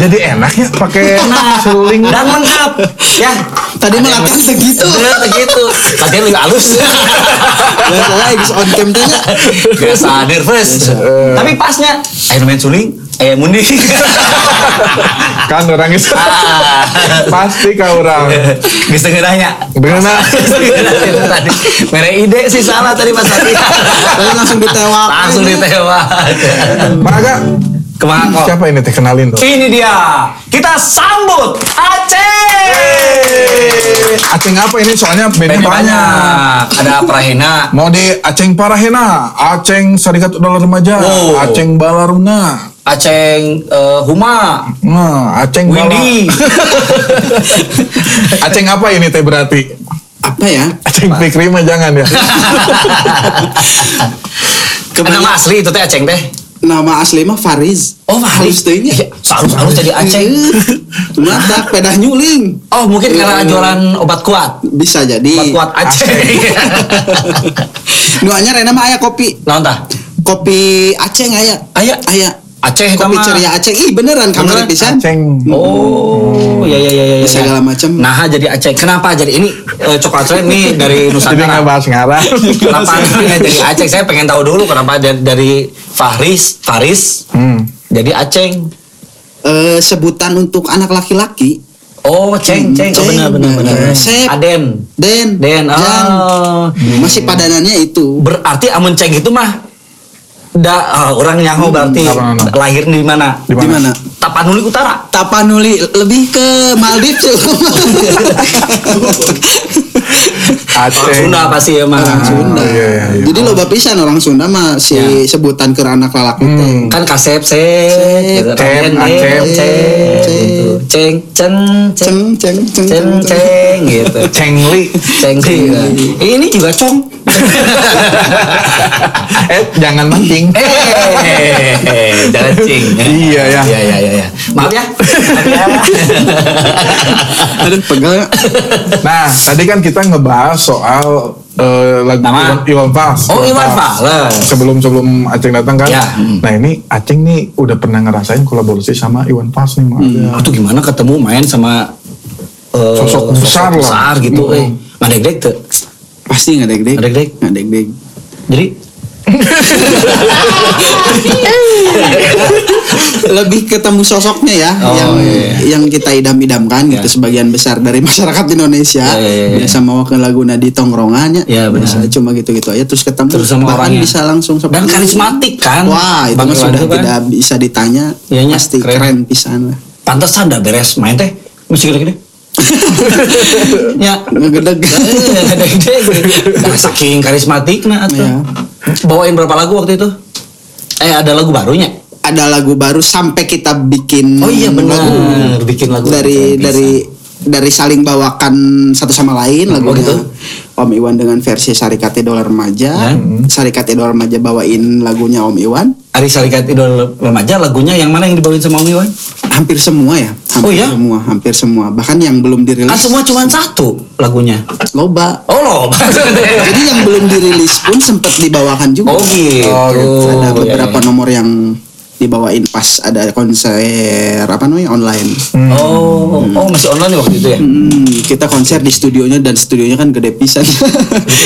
Jadi enak ya pakai seruling. dan lengkap ya Tadi mah latihan segitu. bener gitu latihan lebih halus Lah lah geus on cam teh nya. biasa nervous tapi pasnya air main suling eh mundi kan orang itu Ah. pasti kau orang. bisa ngeranya Bener. tadi mere ide sih salah tadi mas Adi Tadi langsung ditewak. langsung ditewak Maka kemana kok siapa ini teh kenalin tuh? ini dia kita sambut Aceh Aceng apa ini? Soalnya Bandnya bandnya banyak. banyak ada Prahina Mau di Aceng Parahena, Aceng Serikat Dolar Remaja, Oh. Aceng Balaruna, Aceng eh, Huma nah, Aceng Bala- Windy Aceng apa ini teh berarti? Apa ya? Aceng Fikri mah jangan ya. Kebanyakan- Nama asli itu teh Aceng teh. Nama asli mah Fariz. Fariz teh nya. Oh, Iya, Harus harus jadi Iya. Aceng. Mata pedah nyuling. Oh mungkin karena Hmm. jualan obat kuat. Bisa Obat Iya, jadi. kuat Aceng. Nu anyar aya mah aya kopi. Nah entah. Kopi Aceh aya. Aya? Aya. Aceh Kopi nama. ceria Aceh. Ih beneran Beneran? kamari pisan. Aceng Oh ya ya ya ya. ya. Segala macam. Nah jadi Aceng. Kenapa jadi ini eh, coklat saya nih dari jadi Nusantara. nggak bahas ngarah. Kenapa ini jadi Aceng? Saya pengen tahu dulu kenapa dari, dari Faris Faris Hmm. jadi Aceng. Eh, sebutan untuk anak laki-laki Oh Ceng Ceng. Oh Ceng. benar benar benar. Sep. Aden. Den Den. Jan. Oh. masih padanannya itu berarti amun ceng itu mah da ah, orang nyaho berarti Hmm. apa, apa, apa. lahir di mana? Di di mana mana? Tapanuli Utara. Tapanuli lebih ke Maldives cuy. Orang Aceng. Sunda pasti ya mah. orang Sunda iya, iya, iya. jadi loba pisan orang Sunda mah si Ya. sebutan ke anak lalaki teh Hmm. Kan kasep se, Cep, ceng, acep, ceng. ceng, ceng, ceng, ceng ceng ceng ceng, ceng, gitu. Cengli. Ceng, ceng. Ini juga cong. Eh jangan mancing. Eh, jangan cing. Iya, ya. Iya, iya, iya, iya. Maaf ya. Maaf ya. Aduh, pegel ya. Nah tadi kan kita ngebahas soal eh, lagu Nama? Iwan, Iwan Fals. Oh, Iwan Fals. Sebelum sebelum Aceng datang kan. Ya. Nah ini Aceng nih udah pernah ngerasain kolaborasi sama Iwan Fals nih Hmm. Oh, iya. Mak. ya. Itu gimana ketemu main sama eh, Sosok besar lah. besar gitu, Hmm. eh. Ngadeg-deg tuh. pasti ngadeg deg Ngadeg-deg. ngadeg deg Jadi lebih ketemu sosoknya ya Oh, yang iya. yang kita idam-idamkan gitu sebagian besar dari masyarakat Indonesia Iya, iya, iya. biasa mau ke laguna di tongkrongannya Iya, benar. biasa cuma gitu-gitu aja terus ketemu Terus sama bahkan orangnya. bisa langsung dan seperti- karismatik kan. Wah, itu Bang mah Iwan sudah tuh kan. tidak bisa ditanya. Iya, iya, Pasti keren. keren, pisan lah. Pantesan dah beres main teh. Mesti gede-gede. ya. Ngegedeg. Eh, gede-gede. Nah, saking karismatik nah atuh. Iya. Bawain berapa lagu waktu itu? Eh ada lagu barunya. Ada lagu baru sampai kita bikin bener. lagu Oh iya, Bikin lagu dari Keren dari dari saling bawakan satu sama lain Oh, lagunya. gitu? Om Iwan dengan versi Sarikate Dolar Ya. Remaja, Sarikate Dolar Remaja bawain lagunya Om Iwan. pisan. Ari Sarikat Idol Remaja lagunya yang mana yang dibawain sama Om Iwan? Hampir semua ya, hampir Oh, iya? semua, hampir semua. Bahkan yang belum dirilis Kan semua cuma satu lagunya. loba. Oh loh. Jadi yang belum dirilis pun sempat dibawakan juga. Oh gitu. Oh, gitu. ada beberapa Iya, iya. nomor yang dibawain pas ada konser apa namanya online. Oh, oh masih online waktu itu ya? Hmm, kita konser di studionya dan studionya kan gede pisan.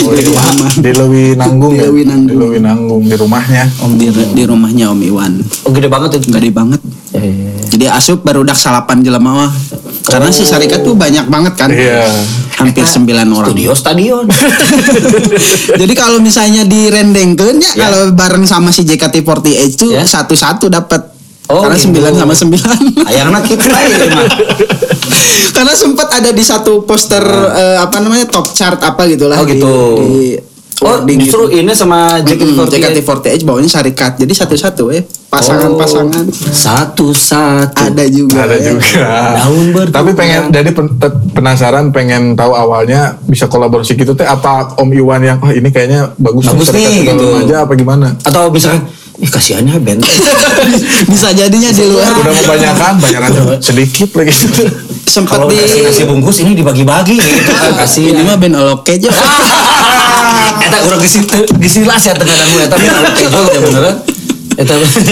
Oh, Jadi iya. aman. Di Lewi Nanggung Di ya? Lewi Nanggung. Di Lewi Nanggung, di rumahnya. Di, di rumahnya Om Iwan. Oh, gede banget itu. Gede banget. Jadi asup baru udah salapan jelema mah. Karena Oh. si Sarikat tuh banyak banget kan. Iya. Hampir sembilan orang. Studio stadion. Jadi kalau misalnya direndengkeun Iya. ya kalau bareng sama si JKT48 itu Ya. satu-satu dapat. Oh, Karena gitu. sembilan sama sembilan. Ayangna kita ya, mah. Karena sempat ada di satu poster eh, apa namanya top chart apa gitulah. Iya. Oh, gitu. Di, di Oh, wording justru gitu. ini sama Mm-mm, JKT48. JKT48 bawahnya syarikat. Jadi satu-satu eh pasangan-pasangan Satu-satu. ada Oh. juga. Ada ya. juga. Daun bertukar. Tapi pengen jadi pen- te- penasaran pengen tahu awalnya bisa kolaborasi gitu teh apa Om Iwan yang oh ini kayaknya bagus, Bagus Serikat nih, Dolar gitu. Remaja apa gimana? Atau misalkan, ih kasihannya benteng. Bisa jadinya di luar Udah mau banyakan, bayaran sedikit lagi. sempat Kalau di dikasih nasi bungkus ini dibagi-bagi gitu kan ya. kasih. Ah. ini mah ben oloke aja. Eta kurang di situ, di ya sini lah sih Iya. gitu ya, eh? tengah dagu eta bener. Eta beneran.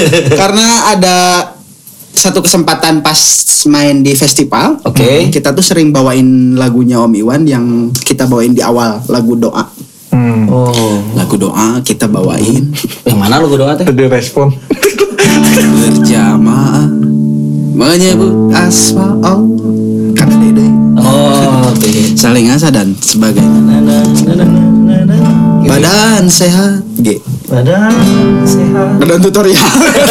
Eta Karena ada satu kesempatan pas main di festival, Hmm. Oke. kita tuh sering bawain lagunya Om Iwan yang kita bawain di awal lagu doa, Hmm. Oh. lagu doa kita bawain Yang mana lu berdoa teh? Itu dia respon. berjamaah menyebut asma Allah kata dede Oh, oke. saling asa dan sebagainya badan sehat G Badan sehat. badan tutorial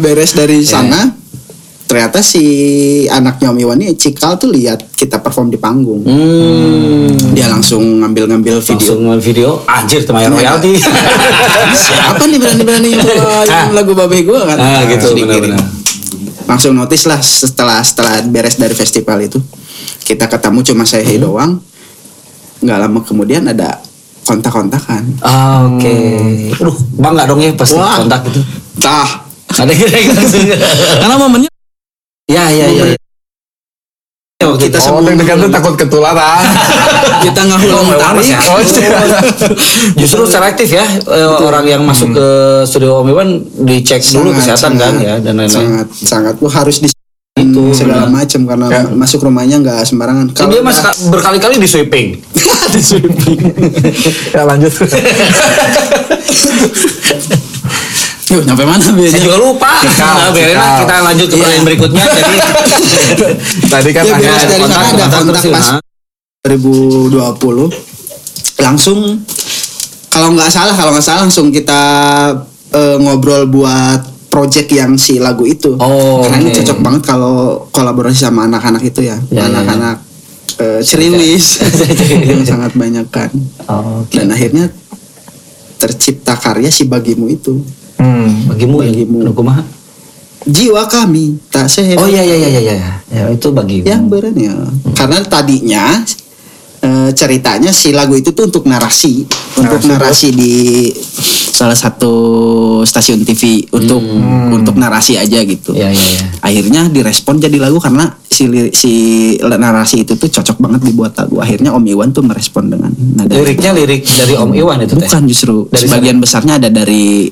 beres dari sana ternyata si anaknya Om Iwan ini Cikal tuh lihat kita perform di panggung Hmm. dia langsung ngambil-ngambil video Langsung ngambil video. Anjir, teman royalti. siapa nih berani-berani bawain lagu babe gue kan Ah, gitu Terus dikirim. benar-benar. langsung notice lah setelah setelah beres dari festival itu kita ketemu cuma saya Hmm. doang nggak lama kemudian ada kontak-kontakan Ah, Oke. Aduh, bangga dong ya pas Wah. kontak gitu. tah Ada gitu. kira langsung. Karena momennya Ya, ya, ya. kita Oh, semua deg-degan tuh takut ketularan. kita Oh, ngahulang memang tarik ya. Oh, Justru selektif ya eh, orang yang masuk ke studio Om Iwan dicek dulu Sangat, kesehatan kan sangat, ya dan lain-lain. sangat sangat Wah, harus di Itu, segala benar. macam karena Ya. masuk rumahnya nggak sembarangan Kan dia udah- mas berkali-kali di sweeping. ya lanjut. Yuh, nyampe mana Saya biasanya juga lupa. Cikal, Nah, biarin lah, cikal. kita lanjut ke pertanyaan berikutnya. Jadi Tadi kan Ya, ada beres dari sana ada kontak, kontak kontak, pas 2020 langsung kalau nggak salah kalau nggak salah langsung kita eh, ngobrol buat project yang si lagu itu Oh, karena ini oke. cocok banget kalau kolaborasi sama anak-anak itu ya Ya, ya, ya. anak-anak eh, ceriwis yang sangat banyak kan dan akhirnya tercipta karya si bagimu itu Hmm. bagimu ya, Bagimu. Aduh, kumaha? jiwa kami tak sehebat Oh iya iya iya iya iya. Ya itu bagimu. yang berani ya. karena tadinya eh, ceritanya si lagu itu tuh untuk narasi untuk narasi di salah satu stasiun TV untuk untuk narasi aja gitu Hmm. Iya iya iya. akhirnya direspon jadi lagu karena si li- si narasi itu tuh cocok banget dibuat lagu akhirnya Om Iwan tuh merespon dengan nada Liriknya lirik dari Om Iwan itu teh. bukan justru Dari sebagian besarnya ada dari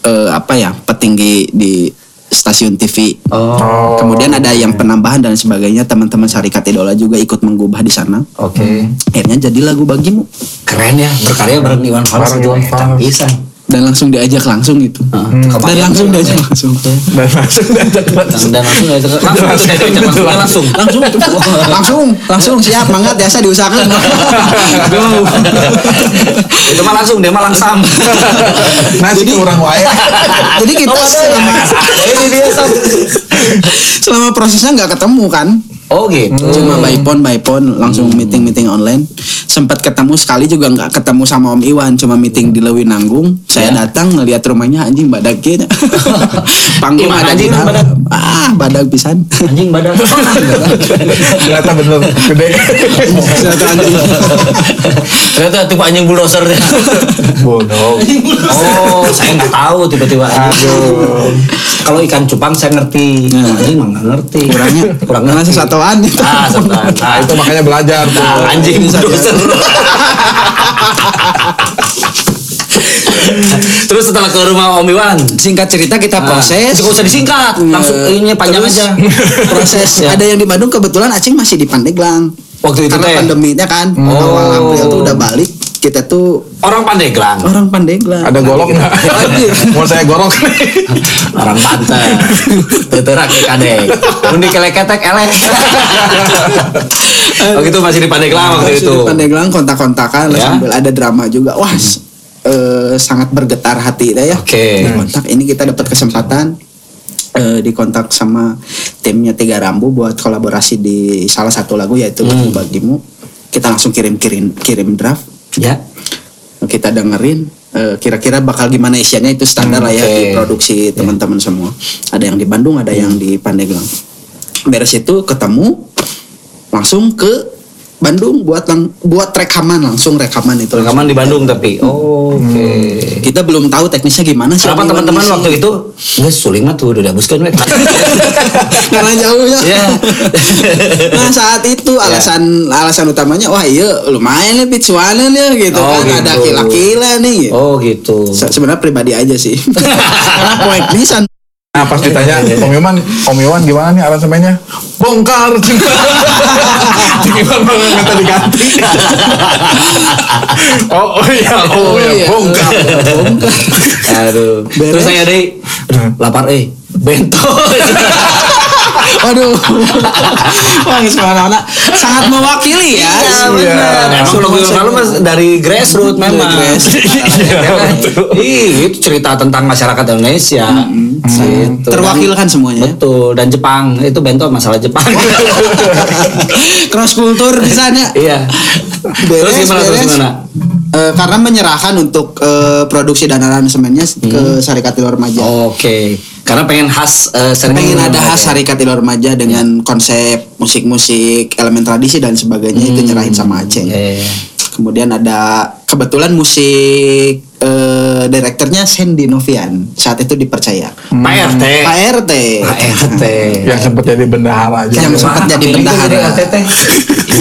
eh, apa ya petinggi di stasiun TV Oh. Oh. Kemudian ada yang penambahan dan sebagainya teman-teman Syarikat Idola juga ikut menggubah di sana. Oke. Hmm. Akhirnya jadi lagu bagimu Keren ya berkarya bareng Iwan Fals. Bareng Iwan Fals. Bisa. dan langsung diajak langsung gitu. Nah, Dan langsung diajak langsung. Dan langsung diajak langsung. Dan langsung diajak langsung langsung diajak langsung dia langsung. Langsung, langsung, langsung siap banget biasa diusahakan. Go. Itu mah langsung dia mah langsam. Nah, jadi orang wae. Jadi kita selama, Ini dia sam. selama prosesnya nggak ketemu kan, Oh gitu. cuma by phone by phone Hmm. langsung meeting meeting online. Sempat ketemu sekali juga nggak ketemu sama Om Iwan, cuma meeting di Lewinanggung. Saya Ya. datang ngeliat rumahnya anjing badaknya. Panggung Iman ada di anjing kan dalam. Ah, badak pisan. Anjing badan. gitu? Ternyata bener gede. Ternyata anjing. Ternyata tipe anjing bulldozer dia. Bodoh. Oh, saya nggak tahu tiba-tiba. Aduh. Kalau ikan cupang saya ngerti. Anjing mah nggak ngerti. Nah. Kurangnya kurang Karena ngerti. sesatuan itu. Ah, sebentar. Nah, Itu itu makanya belajar tuh. Ah, anjing bulldozer. Terus setelah ke rumah Om Iwan, Singkat cerita kita proses. Cukup Ah. usah disingkat, langsung Eh, ininya panjang terus aja. Proses. Ya. Ada yang di Bandung kebetulan Acing masih di Pandeglang. Waktu itu Karena teh. Oh. pandeminya kan awal April tuh udah balik. Kita tuh Orang Pandeglang, orang Pandeglang. Ada golok nggak? Anjing. Mau saya gorok. orang Banten, teterak ke kadek, unik kelek ketek elek. Oh gitu masih di Pandeglang waktu Terus itu. di Pandeglang kontak-kontakan lah Ya. Hmm. sambil ada drama juga. Wah, s- eh, sangat bergetar hati dah ya. Oke. Dikontak ini kita dapat kesempatan eh, dikontak sama timnya Tiga Rambu buat kolaborasi di salah satu lagu yaitu Hmm. Bagimu. Kita langsung kirim-kirim kirim draft. Ya. Kita dengerin eh, kira-kira bakal gimana isiannya itu standar lah ya Hmm, oke. Iya. di produksi teman-teman semua. Ada yang di Bandung, ada yang di Pandeglang. Beres itu ketemu langsung ke Bandung buat lang- buat rekaman langsung rekaman itu. Rekaman di Bandung tapi. Oh, Oke. Kita belum tahu teknisnya gimana Hmm. sih. Kenapa Om Iwan teman-teman ngisi. waktu itu nggak suling mah tuh udah buskan weh. karena jauh ya. Ya. nah saat itu Iya. alasan alasan utamanya wah iya lumayan nih picuanan ya gitu Oh, kan ada gitu. kila-kila nih. Oh gitu. Se- Sebenarnya pribadi aja sih. karena poin pisan Nah pas ditanya Om Iwan, Om Iwan gimana nih aransemennya? Bongkar. Om Iwan malah minta diganti. oh, oh iya, oh, iya, bongkar. Aduh. Terus saya deh lapar eh bento. Waduh. Wah, semana-mana sangat mewakili ya. Iya benar. Emang program kamu mas dari grassroots memang. grassroots. Iya, kan? Ih, itu cerita tentang masyarakat Indonesia. Gitu. Terwakilkan Dan- semuanya. Betul. Dan Jepang itu bento masalah Jepang. Cross kultur di sana. iya. Terus gimana terus gimana? Eh, karena menyerahkan untuk eh, produksi dan aransemennya ke Hmm. Serikat Ilmu Remaja. Oh, Oke. Karena pengen khas eh, sering- Pengen ada khas Oke. Serikat Ilmu Remaja dengan konsep musik-musik, elemen tradisi dan sebagainya itu nyerahin sama Aceh. Hmm. Iya, iya, iya. Kemudian ada kebetulan musik eh, direkturnya Sandy Novian saat itu dipercaya. Pak RT. Pak RT. Mm. Eh. Pak RT. Yang sempat jadi bendahara aja. Yang sempat jadi bendahara.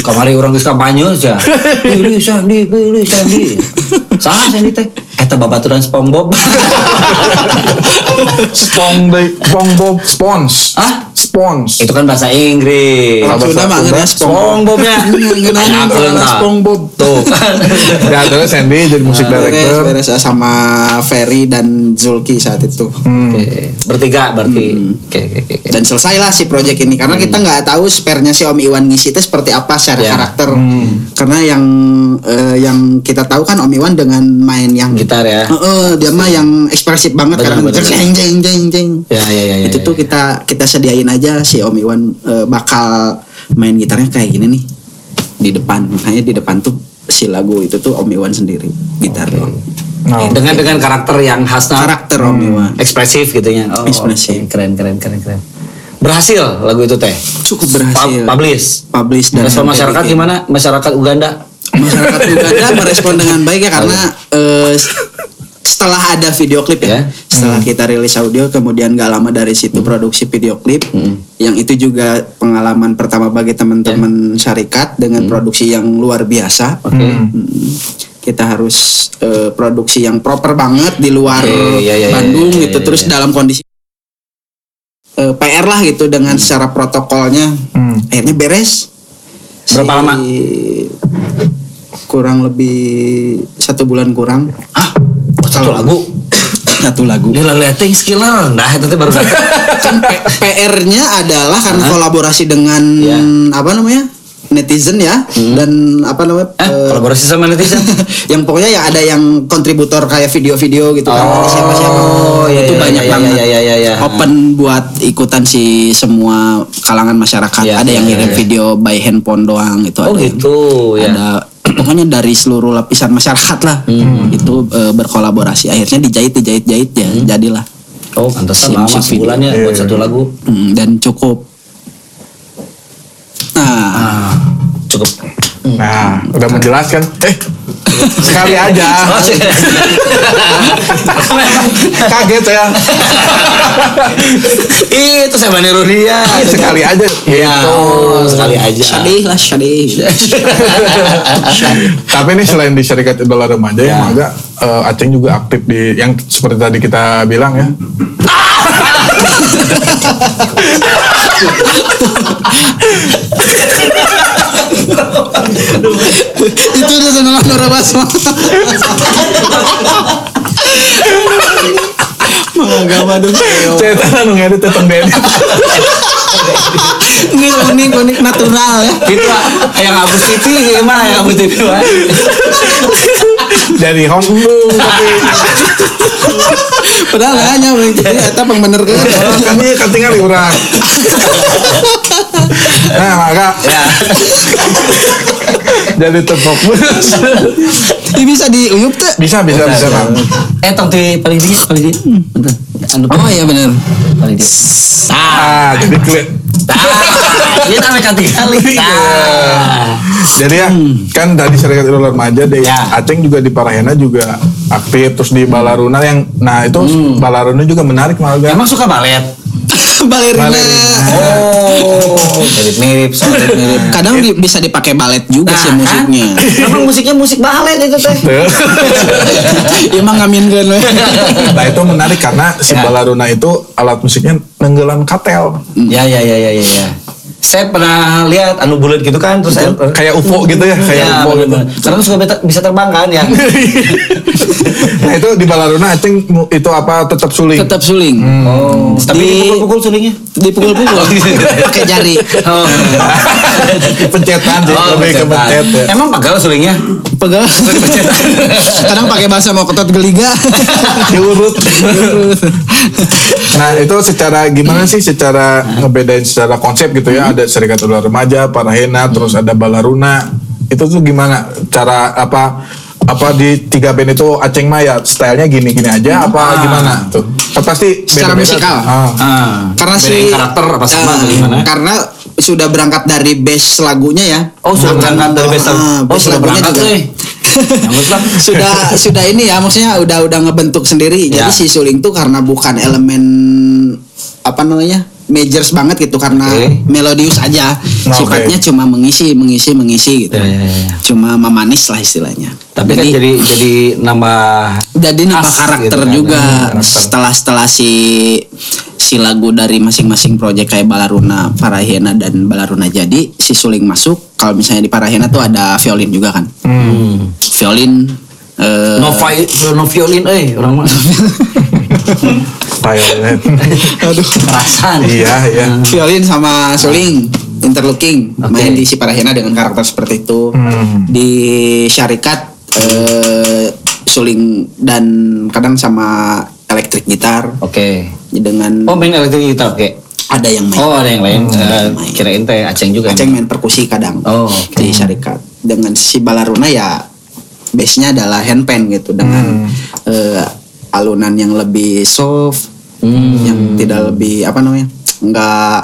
Kamari orang geus kampanye aja. Pilih Sandi, pilih Sandi. Saha Sandi teh? Eta babaturan SpongeBob. Spong de, spong bob, spons. Hah? Spons. Itu kan bahasa Inggris. Orang Sunda mah ngeuna SpongeBob. Iya, SpongeBobnya. Ngeuna Ngeuna SpongeBob. Tuh. kan. Ya, terus Sandy jadi musik Beres, director. beres sama Ferry dan Zulki saat itu. Hmm. Oke, Bertiga berarti. Hmm. Oke, oke, oke, oke. Dan selesailah si project ini karena kita nggak tahu spernya si Om Iwan ngisi itu seperti apa secara Hmm. Ya. karakter. Hmm. Karena yang eh, yang kita tahu kan Om Iwan dengan main yang Gitar ya. Heeh, dia mah yang ekspresif banget Benar, karena benar. jeng jeng jeng jeng. Ya, ya, ya, ya, ya, Itu tuh ya. kita kita sediain aja si Om Iwan eh, bakal main gitarnya kayak gini nih di depan. Makanya di depan tuh si lagu itu tuh Om Iwan sendiri gitar doang. ya. Nah, Dengan dengan karakter yang khasnya Karakter Om Hmm. Iwan ekspresif gitu ya. Oh, Ekspresif. oke. Keren, keren, keren, keren. Berhasil lagu itu teh. cukup berhasil. Pub- Publish. Publish dan Respon masyarakat MPBG. gimana? Masyarakat Uganda? masyarakat Uganda merespon dengan baik ya karena eh, s- setelah ada video klip Ya. Hmm. ya, setelah kita rilis audio kemudian gak lama dari situ produksi video klip yang itu juga pengalaman pertama bagi teman-teman Ya. syarikat dengan Hmm. produksi yang luar biasa Hmm. Mm. kita harus eh, produksi yang proper banget di luar Iya, iya, iya, iya, Bandung iya, iya, gitu iya, terus iya. dalam kondisi eh, PR lah gitu dengan Hmm. secara protokolnya Hmm. akhirnya beres Berapa lama? kurang lebih satu bulan kurang Hah? Oh, Satu lagu. Iya. satu lagu Gila liatin skiller. Nah, itu teh baru kan P- PR-nya adalah karena kolaborasi dengan Ya. apa namanya netizen ya dan apa namanya Hmm. Eh, eh, kolaborasi sama netizen. yang pokoknya ya ada yang kontributor kayak video-video gitu kan dari siapa-siapa Oh, iya, itu iya, banyak iya, banget iya, iya, iya, iya. open buat ikutan si semua kalangan masyarakat Iya, ada yang iya, ngirim iya. video by handphone doang itu Oh ada yang- gitu ya. ada pokoknya dari seluruh lapisan masyarakat lah Hmm. itu eh, berkolaborasi akhirnya dijahit dijahit jahit ya jadilah Oh pantesan Si lama musik video. sebulannya buat Iya. satu lagu. Mm, dan cukup Ah, nah cukup. Nah, udah menjelaskan. Eh, sekali aja. Oh, sih. Kaget ya. saya. Ih, itu saya niru dia. sekali aja. Ya, oh, Iya, sekali aja. syadih lah syadih Gitu. Tapi ini selain di Serikat Idola Remaja yang agak eh, Aceng juga aktif di yang seperti tadi kita bilang ya. itu udah senang Nora Basma Mah gak madu Iya. Ceritanya nu ngedit tetep Denny. Ini unik unik natural ya Itu lah, yang hapus TV gimana yang hapus TV wah. Dari Honbung tapi Padahal hanya Jadi eta pang bener kan orang kan dia ketinggalan orang. Nah, maka Ya. jadi terfokus. Ini bisa diuyup tuh bisa, bisa, bisa, Bang. Eh, tong TV paling dingin, paling dingin. Bentar. Anu Oh iya bener paling dingin. Tah. Ah, jadi klik. Tah. Ini sampai kali. Tah. Jadi ya, kan dari Serikat Idola Remaja deh, Ah. Ya. Aceng juga di Parahena juga Hmm. aktif, terus di Balaruna yang, nah itu Balaruna juga menarik malah. Emang suka balet? balerina. Balerina. Oh, mirip mirip, mirip mirip. Kadang di- bisa dipakai balet juga Nah. sih musiknya. kan? Emang musiknya musik balet itu teh. Emang ngaminkan we. nah itu menarik karena si Ya. balaruna itu alat musiknya nenggelan katel Ya ya ya ya ya. ya. Saya pernah lihat anu bulat gitu kan terus saya kayak UFO gitu ya kayak ya, UFO gitu. bener-bener. Karena suka beta- bisa terbang kan ya. nah itu di balaruna acing mu- itu apa tetap suling Tetap suling. Oh, tapi Di- dipukul-pukul sulingnya. Dipukul-pukul pakai jari. Oh. pencetan jadi Oh, lebih ke pencet ya. Emang pegal sulingnya? Pegal. Kadang pakai bahasa mau ketot geliga. diurut nah itu secara gimana sih secara ngebedain secara konsep gitu ya ada serikat ular remaja parahena terus ada balaruna itu tuh gimana cara apa apa di tiga band itu aceng maya stylenya gini gini aja apa gimana tuh kan pasti Secara beda-beda. musikal. Ah. Ah, karena bedain si karakter apa sama Eh, gimana? Karena sudah berangkat dari base lagunya ya. Oh, sudah Akan- berangkat dari base lagu. Ah, Oh, base sudah lagunya berangkat, juga. eh. Nyambut lah. sudah sudah ini ya maksudnya udah udah ngebentuk sendiri. Ya. Jadi si suling tuh karena bukan elemen apa namanya? majors banget gitu karena Oke. melodius Nah, aja. oke. Sifatnya cuma mengisi, mengisi, mengisi gitu. Ya, ya, ya, ya. Cuma memanis lah istilahnya. Tapi kan jadi jadi nambah jadi nambah khas karakter gitu kan, juga ya, karakter. setelah setelah si si lagu dari masing-masing project kayak Balaruna, Parahena dan Balaruna jadi si Suling masuk kalau misalnya di Parahena tuh ada violin juga kan Hmm, violin eh, Nova no violin eh orang mah Violet. aduh perasaan. iya iya violin sama Suling interlocking Oke. main di si Parahena dengan karakter seperti itu Hmm. di syarikat eh, Suling dan kadang sama elektrik gitar Oke. dengan Oh main elektrik gitar oke. ada yang main Oh ada yang lain. Eh, main. kirain teh Aceng juga. Hmm. Aceng nih. main perkusi kadang Oh, oke. di syarikat dengan si balaruna ya base-nya adalah handpan gitu dengan Hmm. eh, alunan yang lebih soft Hmm. yang tidak lebih apa namanya nggak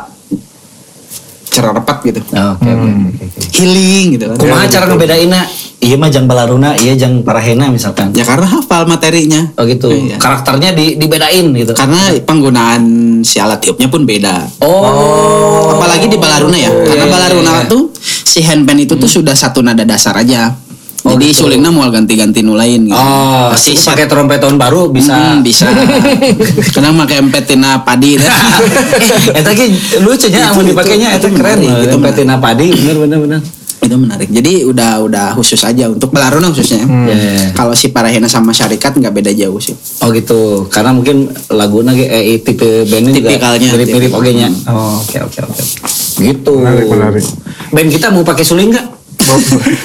cererepet gitu Ah, Oke oke. oke, oke. healing gitu kan Kumaha cara ngebedainna? Iya mah jang balaruna, iya jang parahena misalkan. ya karena hafal materinya Oh gitu. Iya. Kan- Karakternya di, dibedain gitu. karena penggunaan si alat tiupnya pun beda oh. apalagi di balaruna ya Iya, karena iya, balaruna iya. Hmm. tuh si handpan itu tuh sudah satu nada dasar aja Oh, jadi gitu. sulingnya mau ganti-ganti nulain gitu. Oh, si sih pakai trompet tahun baru bisa. Hmm, bisa. Kadang pakai empetina padi. dah. Eta ki lucunya Itu- amun itu- dipakainya eta itu keren menarik, gitu itu trompet padi bener bener bener. itu menarik. Jadi udah udah khusus aja untuk Balaruna Iya, khususnya. iya, iya. Kalau si Parahena sama Syarikat nggak beda jauh sih. Oh gitu, karena mungkin lagunya ge- eh, tipe bandnya juga Tipikalnya, mirip-mirip tipe. oge nya. Oh oke oke oke. Gitu. Menarik, menarik. Band kita mau pakai suling nggak?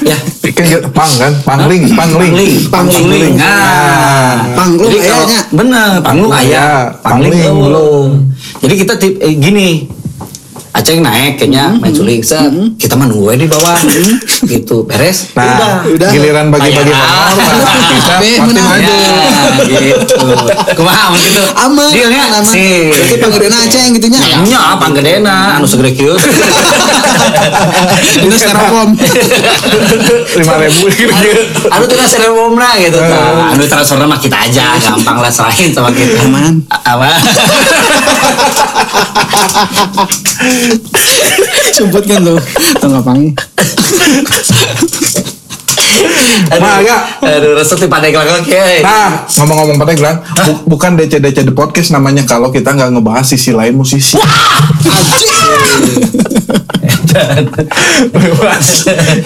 ya. Kan dia- pang kan, pangling, pangling, Pangling, pangling. Nah, Panglung Jadi kalau- ayahnya. Bener, panglung Iya, ayah, pangling pangling eueuh. belum. Jadi kita tip, eh, gini, Aceng naik kayaknya main suling set. Kita mah nunggu aja di bawah. gitu, beres. Nah, Udah. giliran bagi-bagi Ayah. honor, nah, kita Be, makin menang. maju. Ya, gitu. Kumaha mun gitu. Aman. Dealnya aman. sih. Berarti ya? panggilnya Aceh yang gitunya. Nya apa gedena anu segede kieu. Ini styrofoam. Lima ribu. Anu tuh seremomna gitu. Nah, anu transferna mah kita aja gampang lah serahin sama kita. Aman. A- Aman. Sumput kan lu. Tuh nggak panggil. Aduh. Mah, agak. Aduh, resep di pandai kelakak ya. Nah, ngomong-ngomong penting bukan DC-DC The Podcast namanya kalau kita nggak ngebahas sisi lain musisi.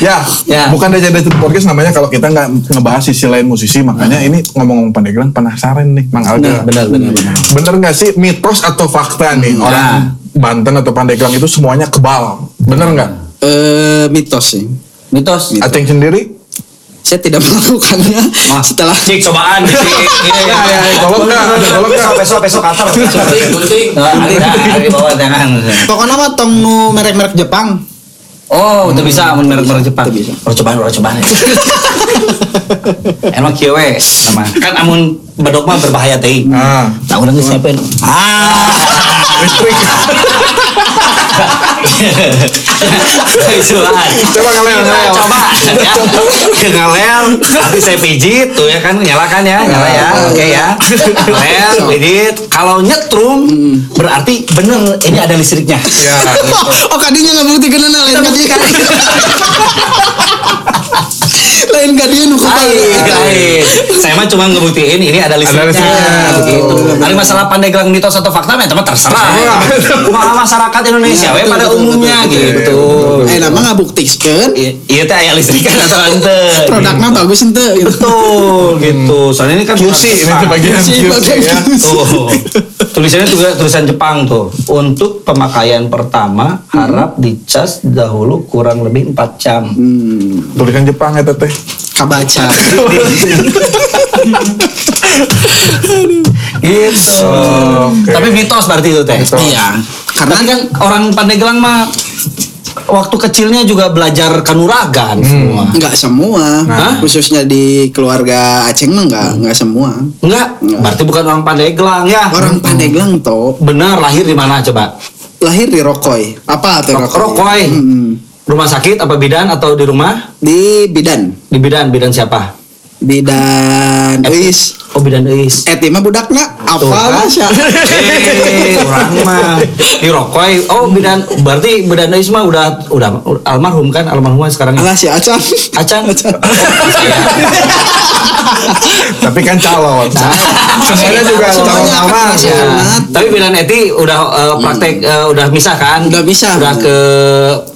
ya, Ya. bukan DC-DC The Podcast namanya kalau kita nggak ngebahas sisi lain musisi. Makanya ini ngomong-ngomong pandeglang penasaran nih, Mang Alga. Benar, Nah. benar, benar. Bener nggak sih mitos atau fakta nih orang Banten atau Pandeglang itu semuanya kebal? Bener nggak? Eh mitos sih. Mitos. Aceng sendiri? Saya tidak melakukannya Wah, setelah cik cobaan cik. Iya, iya, iya. Tolong nggak? Tolong nggak? Besok besok kantor. Gunting, gunting. Nah, ada ada di bawah tangan. Pokoknya mah tong nu merek-merek Jepang. Oh, itu bisa mun merek-merek Jepang. Itu bisa. Percobaan, percobaan. Emang kieu we sama. Kan amun bedok mah berbahaya teuing. Ah. Nah, Tahu urang geus nyepen. Ah. Listrik. Visual. Coba kalian, kalian. Coba. Ya. Ke ngelel, tapi saya pijit tuh ya kan nyalakan ya, nyala ya. Oke ya. Ngelel, pijit. Kalau nyetrum berarti bener ini ada listriknya. Ya. gitu. oh kadinya nggak bukti kena lain kadinya lain ya, kadinya nu Lain, kepala lain. Saya mah cuma ngebuktiin ini ada listriknya. listriknya. Begitu. Ada masalah pandeglang mitos atau fakta, ya teman terserah. Kumaha masyarakat Indonesia, Ya, we betul, pada betul, umumnya betul, betul. gitu. eh nama nggak buktikan I- Iya teh aya listriknya atau ente. produknya bagus ente Iya, gitu Betul gitu. Soalnya ini kan QC Hmm. ini bukan tuh bagian Si iya. QC bagian ya. QC. Tuh. Tulisannya juga tulisan Jepang tuh. Untuk pemakaian Hmm. pertama harap dicas dahulu kurang lebih 4 jam. hmm, Tulisan Jepang ya teteh. kabaca Gitu. Oh, Oke. Tapi mitos berarti itu teh. Mitos. iya Karena karena kan orang Pandeglang mah waktu kecilnya juga belajar kanuragan Hmm. semua. nggak semua Nah. khususnya di keluarga Aceh mah nggak nggak semua Enggak, berarti bukan orang Pandeglang ya. orang Pandeglang toh benar lahir di mana coba? lahir di Rokoy apa tuh Rok- Rokoy, Rokoy. Mm-mm. Rumah sakit apa bidan atau di rumah? di Bidan Di bidan, bidan siapa? Bidan Uis Oh bidan Eis. Eh, mah budakna Tuh, kan? apa lah sih? Eh, orang mah di Rokoy. Oh bidan, berarti bidan Eis mah udah udah almarhum kan almarhumah sekarang. Oh, Alah si Acan. Acan. iya. Tapi kan calon. Semuanya juga calon Semuanya akan aman. masuk. Ya, tapi bidan Eti udah eh, praktek eh, udah misah kan? Hmm. Udah misah. Udah ke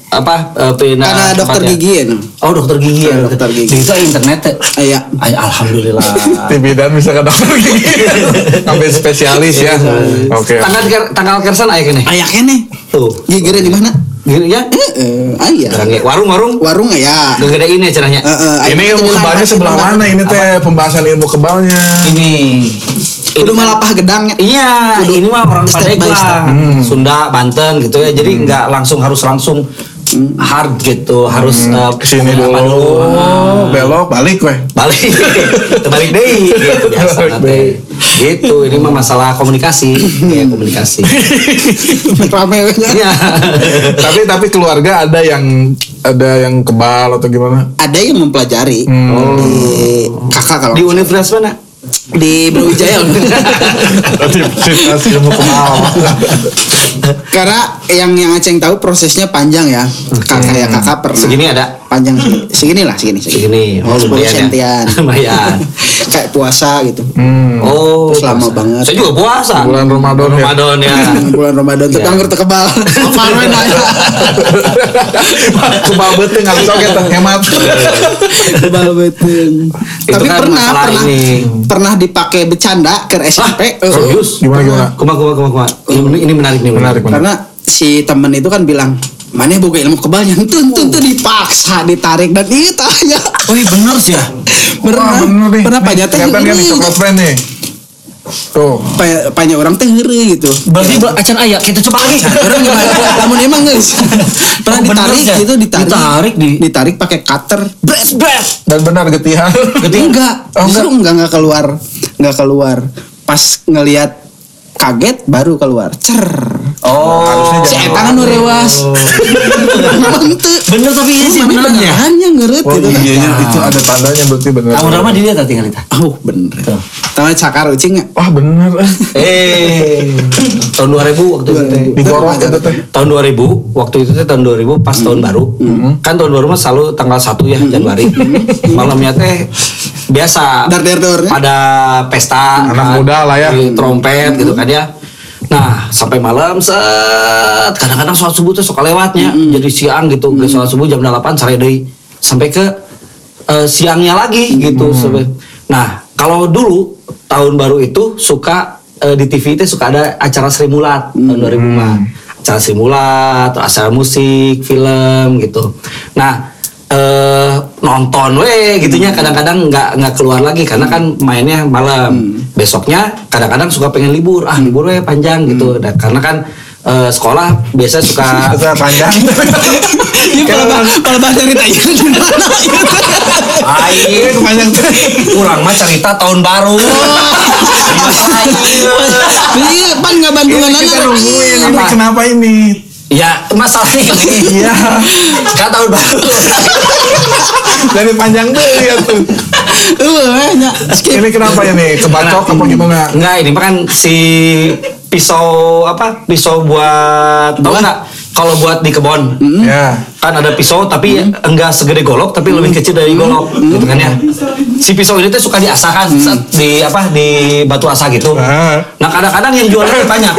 apa? eh, pindah Karena dokter tempatnya. gigi ya. no? Oh dokter gigi ya. Iya, dokter gigi. Itu internet. teh. Iya. Ay, alhamdulillah. Di bidan bisa ke dokter gigi. Sampai spesialis ya. Oke. Tanggal ker- tanggal kersan ayah kene. Aya kene. Tuh. Gigireun kan di mana? Gini ya. Heeh, aya. Barangnya. Warung warung. ya Warung ya? Eh, aya. Gede ini caranya. Heeh, aya Ini teh ilmu di kebalnya lantai sebelah tengah. mana ini teh pembahasan ilmu kebalnya. Iya. Ini. Kudu Ini- malapah gedang. Iya, Kudu ini mah orang step by step. Pandeglang, Hmm. Sunda, Banten gitu ya. Jadi nggak langsung harus langsung Hmm. hard gitu, harus eh, Hmm. Kesini apa dulu. Oh, Belok balik weh. balik terbalik deh gitu biasa Terbalik nanti. gitu ini mah masalah komunikasi Hmm. ya komunikasi Rame banget. iya tapi tapi keluarga ada yang ada yang kebal atau gimana? Ada yang mempelajari Hmm. Oh. di kakak kalau di universitas mana di Brawijaya. Universitas ilmu kebal. Karena yang yang Aceng tahu prosesnya panjang ya. Kakak ya kakak pernah. segini ada panjang segini. segini lah segini segini. segini oh 10 lumayan ya sentian. lumayan Kayak puasa gitu. Hmm. oh Terus lama puasa. banget. saya juga puasa Bulan Ramadan ya. Ramadan ya bulan Ramadan tuh Iya. kanker tekebal Parwen aja Kebal bete nggak bisa kita hemat. kebal betul Itu tapi kan pernah masalah pernah ini. Ah, pernah dipakai bercanda ke SMP eh, serius Gimana gimana? Hmm. kuma kuma kuma kuma ini, ini menarik nih Menarik menarik. oh, karena si temen itu kan bilang mana boga ilmu kebalnya tuh tuh tuh dipaksa ditarik dan itu ya Wih bener sih ya Wah, pernah bener nih. pernah banyak teh Kelihatan kan nih heueuh. coklat friend nih. Tuh. Pa- banyak orang teh heueuh gitu berarti ber- acan ayah kita coba lagi orang gimana lamun emang guys pernah Oh, bener ditarik ya? gitu ditarik Ditarik di- ditarik pakai cutter bret bret Dan benar getihan. gitu ya? enggak Oh, justru enggak enggak keluar enggak keluar pas ngelihat kaget baru keluar cer oh Harusnya si jangan eta kan nu rewas Oh, Memang teu. bener tapi ini sih Mana bener ya benerannya ngeureut Oh gitu iya iya, itu ada tandanya berarti benar. kamu ramah dilihat tinggal kita oh bener Tuh. Tangan cakar ucing ya? nggak? Wah benar. Eh, tahun 2000 waktu itu. teh. Digorok itu teh. Tahun 2000, waktu itu teh tahun 2000 pas tahun baru. Kan tahun baru mah selalu tanggal 1 ya Januari. Malamnya teh biasa Dar dar darnya. Ah. ada pesta Anak kan, muda lah ya. di trompet gitu kan ya. Nah, sampai malam set kadang-kadang sholat subuh tuh suka lewatnya. Hmm. Jadi siang gitu, ke sholat subuh jam 8 sare deui sampai ke eh, siangnya lagi gitu. Hmm. Sampai- Nah, kalau dulu tahun baru itu suka eh, di TV itu suka ada acara Sri Mulat Hmm. tahun 2000 mah. Acara Sri Mulat, atau acara musik, film gitu. Nah, eh nonton weh gitunya kadang-kadang nggak nggak keluar lagi karena kan mainnya malam besoknya kadang-kadang suka pengen libur ah libur weh panjang gitu Nah, karena kan eh, sekolah biasa suka Ada panjang. Iya kalau bah- kalau bahasa cerita itu gimana? Aing Panjang. kurang mah cerita tahun baru Iya pan nggak bandungan Ini kita anak. nungguin ini Apa? kenapa ini? Ya masalahnya gini Iya. Kan tahun baru Dari panjang deh ya tuh. Eh, nya, skip. Ini kenapa ini? Kebacok apa gimana? Enggak ini mah kan si pisau apa pisau buat tau nggak kalau buat di kebun Ya. kan ada pisau tapi enggak segede golok tapi lebih kecil dari golok gitu kan ya si pisau ini tuh suka diasah kan set, di apa di batu asah gitu Ah. nah kadang-kadang yang jualannya banyak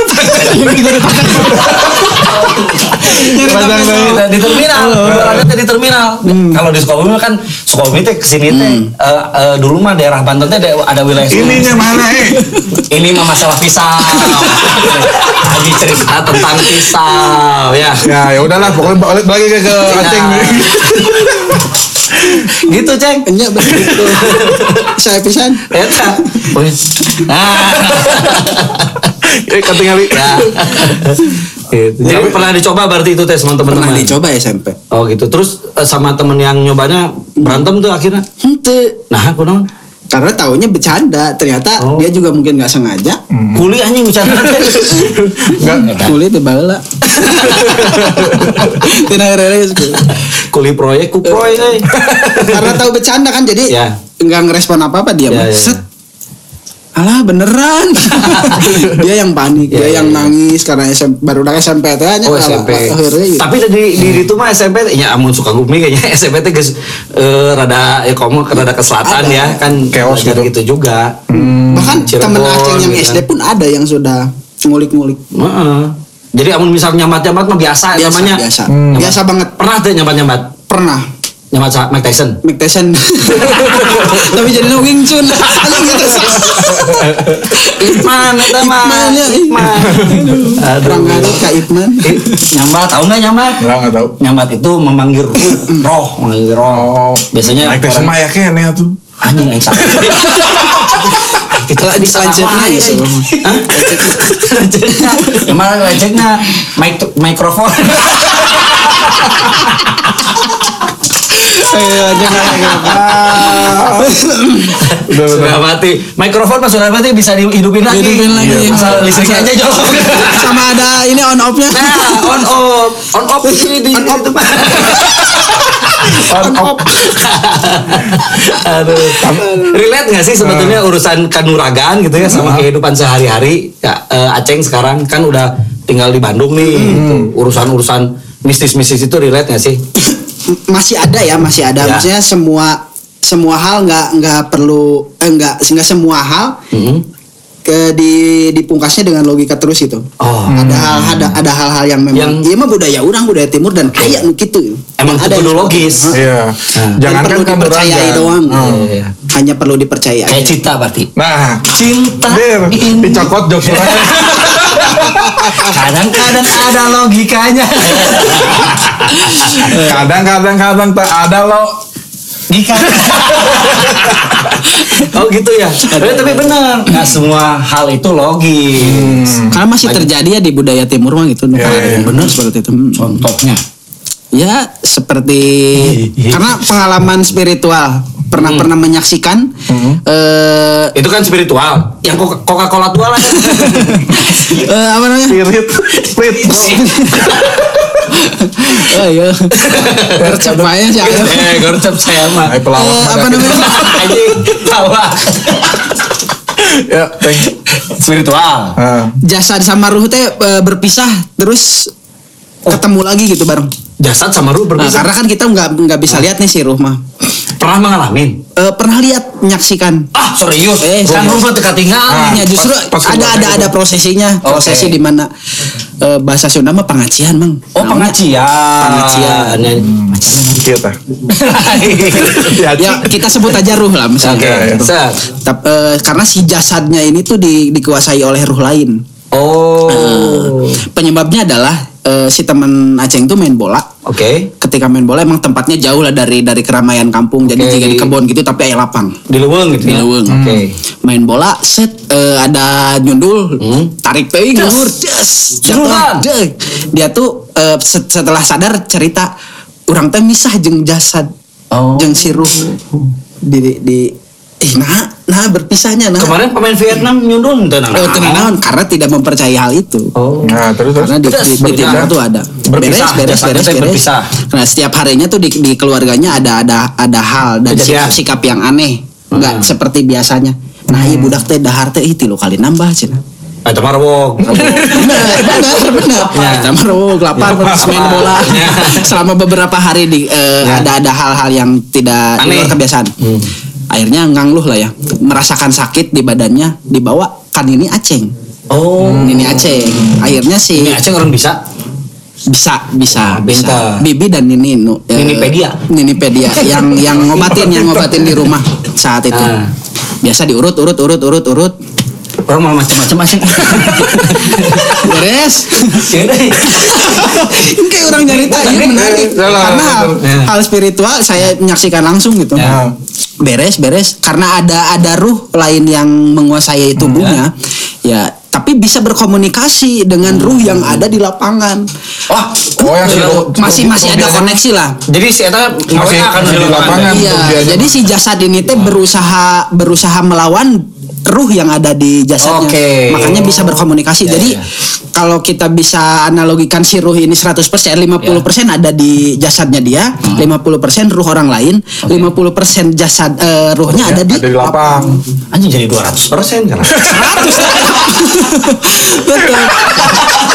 Panjang dong. Di- di terminal Oh. jualannya tuh di terminal Hmm. kalau di Sukabumi kan Sukabumi teh kesini teh eh, eh, dulu mah daerah Banten teh ada ada wilayah Ininya mana eh? ini mah masalah pisau lagi cerita tentang pisau ya Ya ya udahlah pokoknya balik balik ke, ke Aceng. gitu ceng Nya, begitu. Iya, gitu. Saya pisan. Eta. Nah. Eh ketinggalan. Ya. Gitu. Jadi pernah dicoba berarti itu tes teman-teman. Iya. Pernah dicoba SMP. Oh gitu. Terus eh, sama temen yang nyobanya berantem tuh akhirnya. Henteu. Nah, aku naon? Karena taunya bercanda, ternyata Oh. dia juga mungkin nggak sengaja. Hmm. Kuli anjing bercanda. Enggak. Kulit di bala. Tina reres. Kuli proyek eh. ku proy euy. Karena tahu bercanda kan jadi Ya. nggak ngerespon apa-apa dia Ya, mah. ya, ya. Set. Alah beneran. dia yang panik, Ya, dia ya, yang ya. nangis karena SMP baru udah SMP teh nya. Oh kalau- SMP. Iya, akhirnya ya. Tapi tadi di di itu mah SMP ya amun suka gumi kayaknya SMP teh geus eh, rada ya komo rada ke selatan Ada. ya kan Chaos belajar gitu. gitu juga. Hmm. bahkan Cirebon, temen Aceh yang gitu kan. SD pun ada yang sudah ngulik-ngulik. Heeh. Jadi amun misal nyambat-nyambat mah biasa, ya, Biasa, namanya. biasa. Hmm. Biasa banget. Pernah tuh nyambat-nyambat? Pernah Nyambat sama Mike Tyson. Mike Tyson. Tapi jadinya Wing Chun. Anjing gitu. Iman, eta mah. Iqman, ya, Iqman. Orang kan. ngaduk Kak Ipman. Eh, Nyambat, tahu nggak nyambat? Enggak enggak tahu. Nyambat itu memanggil ruh, roh, memanggil roh. Oh, Biasanya naik tes orang- sama ya kene tuh. anjing yang sakit. Itu Lah, lanjutnya ya, Sob. Hah? Lanjutnya. Emang lanjutnya mic mikrofon. Iya. Udah udah. Sudah mati. Mikrofon Mas sudah mati bisa dihidupin lagi. Hidupin lagi. Asal listriknya aja jolok. iya. Sama ada ini on off-nya. Nah, on off, on off ini di on off. On off. Aduh. Relate nggak sih sebetulnya urusan kanuragan gitu ya sama kehidupan sehari-hari? Ya, eh, Aceng sekarang kan udah tinggal di Bandung nih. gitu. Urusan-urusan mistis-mistis itu relate nggak sih? masih ada ya masih ada Ya. maksudnya semua semua hal nggak nggak perlu eh, nggak nggak semua hal Mm-mm. ke di dipungkasnya dengan logika terus gitu. itu Oh. ada hal ada ada hal-hal yang memang Yang- iya mah budaya orang budaya timur dan kayak nu gitu Emang ada kudu yang seperti logis. itu. Hah? Iya. Jangan kan perlu kan dipercayai doang Iya, iya, iya. hanya perlu dipercayai Kayak cinta berarti. Nah, Cinta dir, ini dicokot jok kadang-kadang ada logikanya. Kadang-kadang kadang tak ada lo. oh gitu ya. Tapi, tapi benar, nggak semua hal itu logis. Hmm. karena masih terjadi ya di budaya timur mah gitu Iya, iya. benar seperti itu Hmm. Contohnya. Ya seperti karena pengalaman spiritual pernah pernah menyaksikan eh Itu kan spiritual. Yang Coca- Coca-Cola tua lah. eh, apa namanya? Spirit, spirit. Oh iya. Gercep aja sih. aku. eh, gorcep saya mah. Ay, pelawan. Eh, apa namanya? Anjing, tawa. Ya, thank. Spiritual. Ah. Jasad sama ruh teh eh, berpisah terus ketemu lagi gitu bareng. Jasad sama ruh Nah, berbisa. karena kan kita nggak nggak Nah. bisa lihat nih si ruh mah. Pernah mengalami. Eh, pernah lihat menyaksikan Ah, serius. Eh, kan serius. ruh mah teu katingal. Ya, Ah. justru pas- pas ada keluar ada dari ada prosesinya, Oke. prosesi di mana eh, bahasa Sunda mah pengajian, Mang. Oh, pengajian. Pengajian. Iya tah. Ya, Ya, kita sebut aja ruh lah misalnya. Gitu. Oke, Ya, ya. set. Tap- eh, karena si jasadnya ini tuh di- dikuasai oleh ruh lain. Oh. Penyebabnya adalah eh, si teman Aceng tuh main bola. Oke. Ketika main bola emang tempatnya jauh lah dari dari keramaian kampung. Jadi Oke. jika di kebun gitu tapi aya lapang. Di leuweung gitu Di ya. leuweung. Oke. Main bola set eh, ada nyundul, Hmm. tarik teuing luhur, des, jatuh, Jeruran. deg. Dia tuh eh, set- setelah sadar cerita orang teh misah jeung jasad. Oh. Jeung si ruh di di eh nah nah berpisahnya nah Kemarin pemain Vietnam nyundul tenang. Eh, tenang naon, karena tidak mempercayai hal itu Oh. Nah, terus terus. karena di, Terus, di, di berpisah. timur tuh ada Berpisah, beres beres jasanya beres, teh beres. berpisah. nah setiap harinya tuh di, di keluarganya ada ada ada hal dan Kejadian. sikap, sikap yang aneh nggak Hmm. seperti biasanya nah ibu budak teh dahar teh ih, tilu kali nambah cina Ah, itu mah rewog. benar benar benar Ya. kita meruk lapar Ya. terus main bola Ya. selama beberapa hari di eh, Ya. ada ada hal-hal yang Aneh. tidak di Hmm. luar kebiasaan akhirnya ngangluh lah ya merasakan sakit di badannya dibawa kan ini aceng Oh. ini aceng akhirnya si Ini Aceh orang bisa. bisa bisa bisa Pintar. bibi dan nini nu Oh, eh, Ninipedia. ninipedia yang yang ngobatin yang ngobatin di rumah saat itu Ah. biasa diurut urut urut urut urut Orang mau macam-macam asing. beres Ya deh. Ini kayak orang cerita ini menarik Ya, lah, karena hal, ya. hal spiritual saya menyaksikan langsung gitu Ya. beres beres karena ada ada ruh lain yang menguasai Hmm. tubuhnya ya tapi bisa berkomunikasi dengan Hmm. ruh yang ada di lapangan Wah. Oh, yang si Ro- masih Ro- masih Ro- ada Ro- koneksi lah Jadi si Eta ngawe akan di masih di lapangan. lapangan. Kan, untuk dia Iya, aja. jadi si jasad ini teh berusaha berusaha melawan ruh yang ada di jasadnya. Oke. Makanya bisa berkomunikasi. Iya, Ya, jadi ya. kalau kita bisa analogikan si ruh ini 100%, 50% ada di jasadnya dia, Hmm. 50% ruh orang lain, 50% jasad eh, ruhnya ada di Ada di lapang. Anjing jadi 200 persen kan. 100 Betul.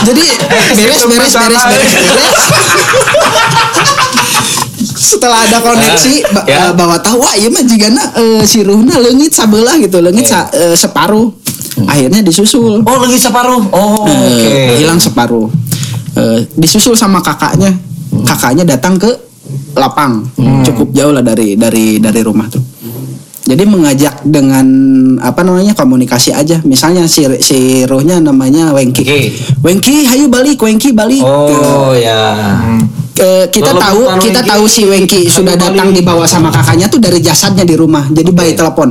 Jadi beres beres beres beres beres. Setelah ada koneksi ba- Ya. eh, bahwa tahu wah ieu mah jigana eh, si Ruhna leungit sabelah gitu, leungit sa- eh, separuh. Akhirnya disusul. Oh, lagi separuh. Oh, Eh, oke. hilang separuh. Eh, disusul sama kakaknya. Hmm. Kakaknya datang ke lapang. Cukup jauh lah dari dari dari rumah tuh. Jadi mengajak dengan apa namanya komunikasi aja. Misalnya si si rohnya namanya Wengki. Oke. Wengki, hayu balik, Wengki balik. Oh, ya. Hmm, Eh, kita Lalu tahu bukan kita Wengki. tahu si Wengki Hayu sudah datang balik. dibawa sama kakaknya tuh dari jasadnya di rumah. Jadi gitu. Oke. by telepon.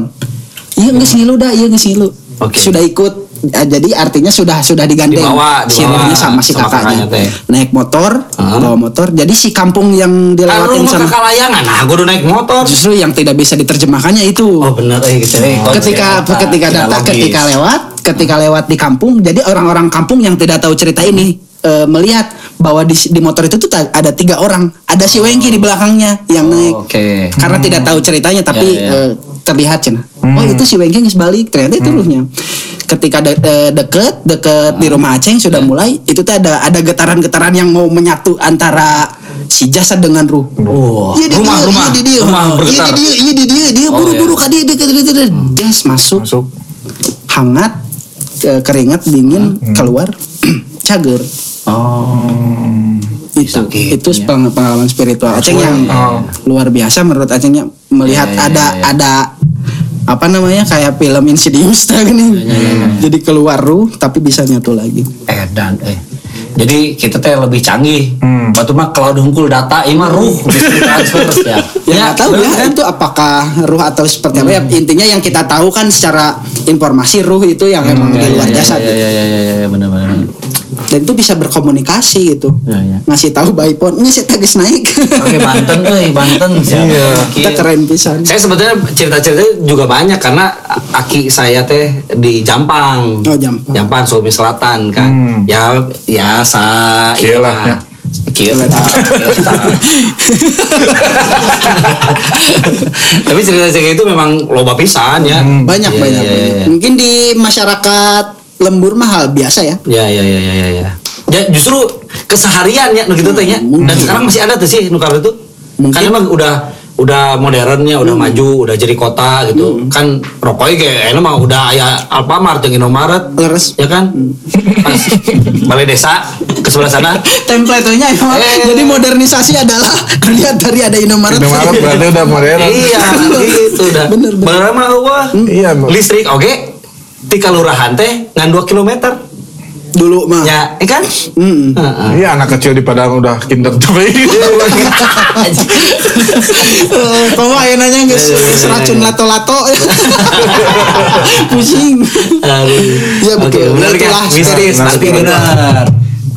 Iya nggak ngilu dah, iya nggak ngilu. Oke. Sudah ikut. Eh, Jadi artinya sudah sudah digandeng. Dibawa, si dibawa Rohnya sama si sama kakaknya. kakaknya teh. Naik motor, Ah. bawa motor. Jadi si kampung yang Kalau dilewatin mau ke sama kalayangan, nah gue udah naik motor. justru yang tidak bisa diterjemahkannya itu. Oh benar eh gitu eh. ketika konsep, ketika tidak datang logis. ketika lewat ketika lewat di kampung jadi orang-orang kampung yang tidak tahu cerita ini eh, melihat bahwa di, di motor itu tuh ta- ada tiga orang ada si Wengki di belakangnya yang naik Oh, Oke. Hmm. karena tidak tahu ceritanya tapi Ya, ya. eh, terlihat cina Hmm. oh itu si Wengki nggak balik ternyata itu ruhnya ketika de- eh, deket deket Ah. di rumah Aceng sudah Iya. mulai itu tuh ada ada getaran-getaran yang mau menyatu antara si jasad dengan ruh Wah, Iya di Oh, rumah dieu, rumah iya di dieu. rumah Iya bergetar. di dieu, iya di dieu, dia Oh, buru-buru iya. ka dieu, dieu ka dieu, dieu, dieu. Gas masuk, Masuk. hangat, eh, keringat dingin Hmm. keluar, cager. Oh. Itu Sakit, itu iya. peng- pengalaman spiritual Aceng Langsung, yang oh. luar biasa menurut Acengnya melihat Iya, iya, ada iya, iya. ada apa namanya kayak film Insidious teh Iya, gini. Jadi keluar ruh tapi bisa nyatu lagi. Eh dan eh. Jadi kita teh lebih canggih. Hmm. Batu mah cloud hungkul data ieu mah ruh Gitu, bisa transfer ya. Ya, nggak tahu bener, ya kan? Hmm. itu apakah ruh atau seperti apa ya intinya yang kita tahu kan secara informasi ruh itu yang emang Ya, di ya, luar ya, jasad Ya ya ya ya ya, ya benar benar. benar. dan itu bisa berkomunikasi gitu Ya, ya. ngasih tahu baik pun ini saya tagis naik Oke Banten euy, Banten siapa? Iya. Oke. kita keren pisan Saya sebetulnya cerita-cerita juga banyak karena aki saya teh di Jampang. Oh, Jampang. Jampang Sulawesi Selatan kan. Hmm. Ya ya sa Kieu lah, ya. Kieu lah, kieu lah. Tapi cerita-cerita itu memang loba pisan ya. Hmm. banyak Iya, banyak iya, banyak. iya. mungkin di masyarakat lembur mahal biasa ya Ya ya ya ya ya ya. Ya justru kesehariannya nu gitu teh nya. Hmm. Dan sekarang masih ada tuh sih nu itu. Mungkin. Hmm. Kan emang udah udah modernnya, udah maju, udah jadi kota gitu. Kan rokoknya kayak enak mah udah aya Alfamart yang Indomaret. Leres. Ya kan? Pas balai desa ke sebelah sana. template-nya emang. Eh. jadi modernisasi adalah dilihat dari ada Indomaret Minum alat berarti udah modern. Eh, iya, gitu dah. Bener, bener. Bener mah eueuh. hmm. Iya, Bang. Listrik oke. Di kalurahan teh ngan 2 kilometer. dulu mah Ya, eh kan? Mm. Heeh. Iya anak kecil di Padang udah kinder joy. Iya, Eh, Kamu ayo nanya Ya, nggak ya, ya, sih racun ya. lato-lato Pusing Aduh. Iya, Oke, betul. benar Iya, Itulah kan? Mistis, spirit. tapi benar.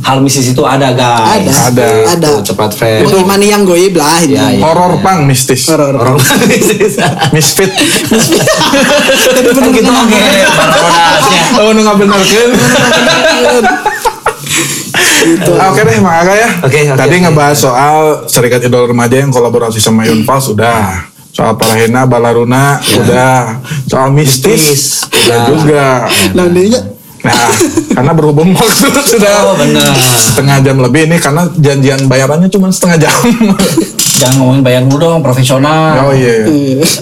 hal mistis itu ada guys. Ada, Ada. ada. Tuh, Cepat friend. Mengimani yang goib lah ini. Ya, ya. horor pang mistis Horor. Eh, Orang mistis. misfit Tapi bener Gitu oke. Barcelona. oh nu ngabenerkeun Gitu. oke deh Mang Aga ya Oke, oke, tadi oke. ngebahas soal Serikat Idola Remaja yang kolaborasi sama Yunfal sudah soal Parahena Balaruna udah soal Iya. Mistis, mistis udah udah. juga Nah, dia Nah, karena berhubung waktu sudah Oh, benar. setengah jam lebih ini karena janjian bayarannya cuma setengah jam. Jangan ngomongin bayar dulu dong, profesional. oh iya.